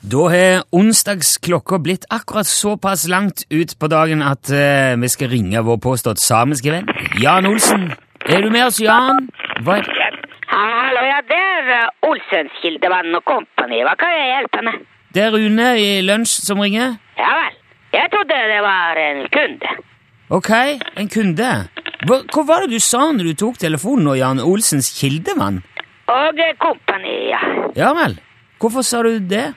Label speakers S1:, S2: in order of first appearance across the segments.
S1: Da har onsdagsklokka blitt akkurat såpass langt ut på dagen at eh, vi skal ringe vår påstått samiske venn. Jan Olsen, er du med oss, Jan? Hva er...
S2: Hallo, ja, det er eh, Olsens Kildevann og Kompani. Hva kan jeg hjelpe med?
S1: Det er Rune i lunsj som ringer.
S2: Ja vel. Jeg trodde det var en kunde.
S1: Ok, en kunde. Hva, hva var det du sa når du tok telefonen nå, Jan Olsens kildevann?
S2: Og eh, Kompani, ja.
S1: Ja vel. Hvorfor sa du det?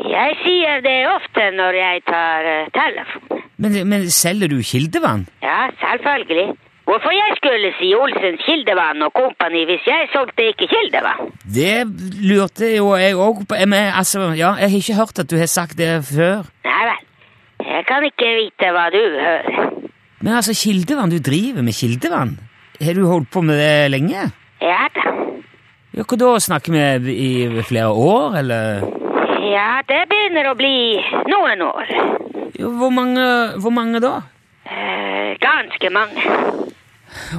S2: Jeg sier det ofte når jeg tar eh, telefonen.
S1: Men, men selger du kildevann?
S2: Ja, selvfølgelig. Hvorfor jeg skulle si Olsens Kildevann og Kompani hvis jeg solgte ikke Kildevann?
S1: Det lurte jo jeg òg på. Men, altså, ja, jeg har ikke hørt at du har sagt det før.
S2: Nei vel. Jeg kan ikke vite hva du hører.
S1: Men altså, kildevann, du driver med kildevann? Har du holdt på med det lenge?
S2: Ja da.
S1: Ja, hva da, snakker vi i flere år, eller?
S2: Ja, det begynner å bli noen år.
S1: Ja, hvor mange, hvor mange da?
S2: Eh, ganske mange.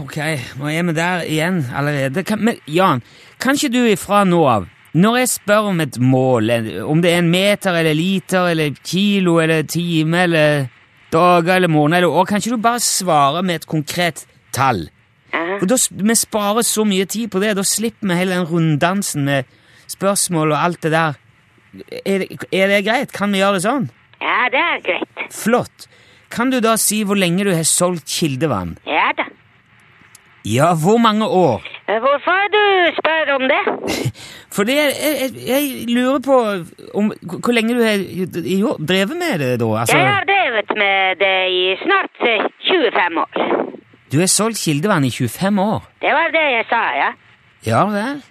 S1: Ok, nå er vi der igjen allerede. Kan, men Jan, kan ikke du ifra nå av, når jeg spør om et mål, en- om det er en meter eller liter eller kilo eller time eller dager eller måneder eller år, kan ikke du bare svare med et konkret tall?
S2: Ja.
S1: Og da, s- Vi sparer så mye tid på det, da slipper vi hele den runddansen med spørsmål og alt det der. Er det, er det greit? Kan vi gjøre det sånn?
S2: Ja, det er greit.
S1: Flott. Kan du da si hvor lenge du har solgt kildevann?
S2: Ja da.
S1: Ja, hvor mange år?
S2: Hvorfor du spør om det?
S1: For det, jeg, jeg, jeg lurer på om, hvor hvor lenge du har jo, drevet med det, da? Altså,
S2: Jeg har drevet med det i snart eh, 25 år.
S1: Du har solgt kildevann i 25 år?
S2: Det var det jeg sa, ja.
S1: Ja vel?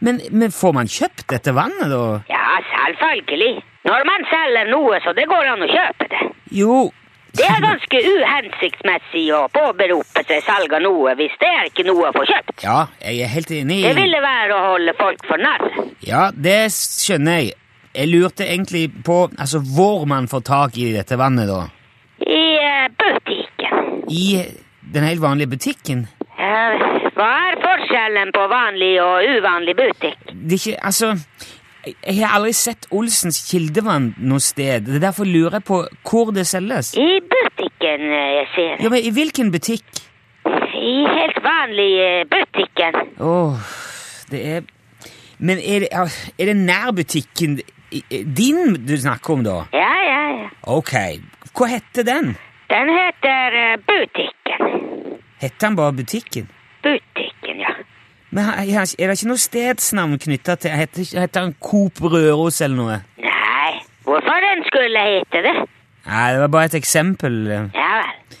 S1: Men, men får man kjøpt dette vannet, da?
S2: Ja, selvfølgelig. Når man selger noe, så det går an å kjøpe det.
S1: Jo
S2: Det er ganske uhensiktsmessig å påberope seg salg av noe hvis det er ikke noe å få kjøpt.
S1: Ja, jeg er helt enig
S2: Det
S1: i
S2: ville være å holde folk for narr.
S1: Ja, det skjønner jeg. Jeg lurte egentlig på altså, hvor man får tak i dette vannet, da.
S2: I eh, butikken.
S1: I den helt vanlige butikken?
S2: Eh, hva er forskjellen på vanlig og uvanlig butikk?
S1: det er ikke, altså, jeg- jeg har aldri sett Olsens kildevann noe sted. Det er derfor lurer jeg på hvor det selges.
S2: I butikken, eh, jeg ser.
S1: Ja, men I hvilken butikk?
S2: I helt vanlig eh, butikken.
S1: Åh, det er Men er det, ja, er det nær butikken i- i- din du snakker om, da?
S2: Ja, ja, ja.
S1: Ok, hva heter den?
S2: Den heter eh, Butikken.
S1: Heter den bare Butikken?
S2: Butikken, ja.
S1: Men ha- er det ikke noe stedsnavn knytta til Heter, ikke- heter den Coop Røros eller noe?
S2: Nei, hvorfor den skulle hete det?
S1: Nei, det var bare et eksempel.
S2: Ja vel.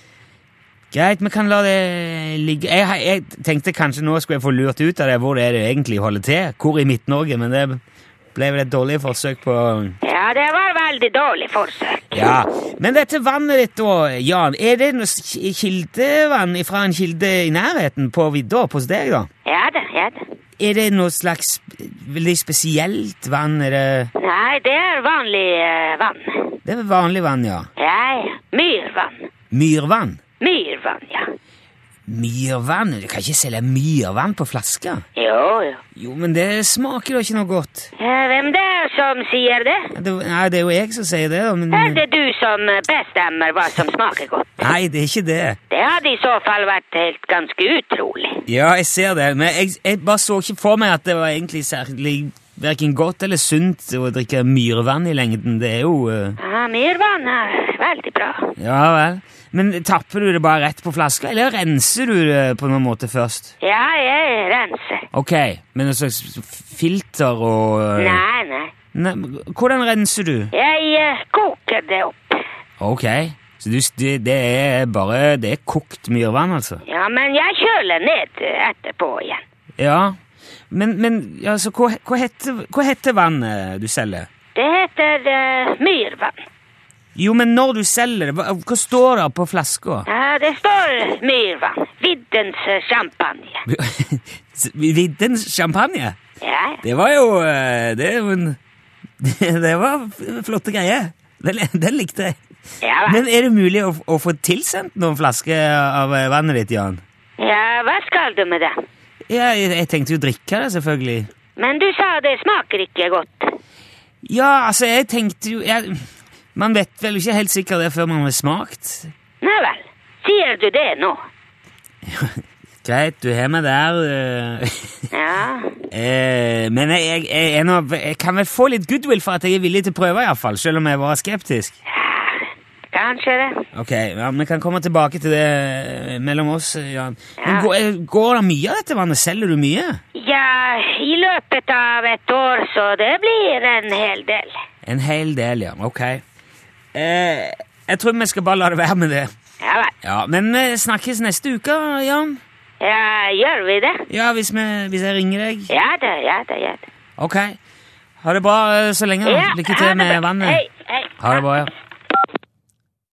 S1: Greit, vi kan la det ligge. Jeg, har- jeg tenkte kanskje nå skulle jeg få lurt ut av det hvor det er det egentlig holder til. Hvor i Midt-Norge, men det ble vel et dårlig forsøk på
S2: Ja, det var veldig dårlig forsøk.
S1: Ja. Men dette vannet ditt, da, Jan, er det noe s- kildevann fra en kilde i nærheten på vidda på hos deg, da?
S2: Ja da, ja da.
S1: Er det noe slags veldig spesielt vann? Er det,
S2: Nei, det er vanlig eh, vann.
S1: det er vanlig vann, ja.
S2: Ja, ja. Myrvann.
S1: Myrvann?
S2: Myrvann, ja.
S1: Myrvann? Du kan ikke selge myrvann på flasker?
S2: Jo, jo.
S1: Jo, men det smaker da ikke noe godt.
S2: Eh, Hvem det er som sier det?
S1: Det, nei, det er jo jeg som sier det, da. Men,
S2: Er det du som eh, bestemmer hva som smaker godt?
S1: Nei, det er ikke det.
S2: Det hadde i så fall vært helt ganske utrolig.
S1: Ja, jeg ser det, men jeg, jeg bare så ikke for meg at det var egentlig særlig verken godt eller sunt å drikke myrvann i lengden. Det er jo eh,
S2: Ja, myrvann er veldig bra.
S1: Ja vel. Men tapper du det bare rett på flaska, eller renser du det på noen måte først?
S2: Ja, jeg renser.
S1: Ok, med noe slags filter og eh,
S2: Nei, nei.
S1: Nei, Hvordan renser du?
S2: Jeg eh, koker det opp.
S1: Ok, så du, det, det er bare Det er kokt myrvann, altså?
S2: Ja, men jeg kjøler ned eh, etterpå igjen.
S1: Ja. Men, men altså, hva, hva, heter, hva heter vannet du selger?
S2: Det heter eh, myrvann.
S1: Jo, men når du selger det, hva, hva står det på flaska?
S2: Ja, det står myrvann. Viddens eh, champagne.
S1: Vidden champagne?
S2: Ja, ja.
S1: Det var jo eh, Det, er jo en- det var f- flotte greier. Den, den likte jeg.
S2: Ja, hva?
S1: Men er det mulig å, å få tilsendt noen flasker av eh, vannet ditt, Jan?
S2: ja, hva skal du med det?
S1: Ja, jeg, jeg tenkte jo drikke det, selvfølgelig.
S2: Men du sa det smaker ikke godt.
S1: Ja, altså, jeg tenkte jo jeg, Man vet vel ikke helt sikkert det før man har smakt.
S2: Nei vel. Sier du det nå?
S1: Greit, du har meg der. eh.
S2: Ja.
S1: Eh, men jeg, jeg, jeg, er nå- jeg kan vel få litt goodwill for at jeg er villig til å prøve, i hvert fall, selv om jeg var skeptisk.
S2: Kanskje det.
S1: Ok, ja, Vi kan komme tilbake til det eh, mellom oss. Jan. Men
S2: Ja.
S1: går, eh, går det mye av dette vannet? Selger du mye?
S2: Ja, i løpet av et år, så det blir en hel del.
S1: En hel del, ja. Ok. Eh, jeg tror vi skal bare la det være med det.
S2: Ja vel.
S1: Ja, Men vi snakkes neste uke, Jan.
S2: Ja, gjør vi det?
S1: Ja, hvis, vi, hvis jeg ringer deg.
S2: Ja da, ja da, ja da.
S1: Ok. Ha det bra eh, så lenge. da.
S2: Ja,
S1: Lykke
S2: ha
S1: til
S2: det
S1: med
S2: bra.
S1: vannet.
S2: Hei, hei.
S1: Ha det bra, ja.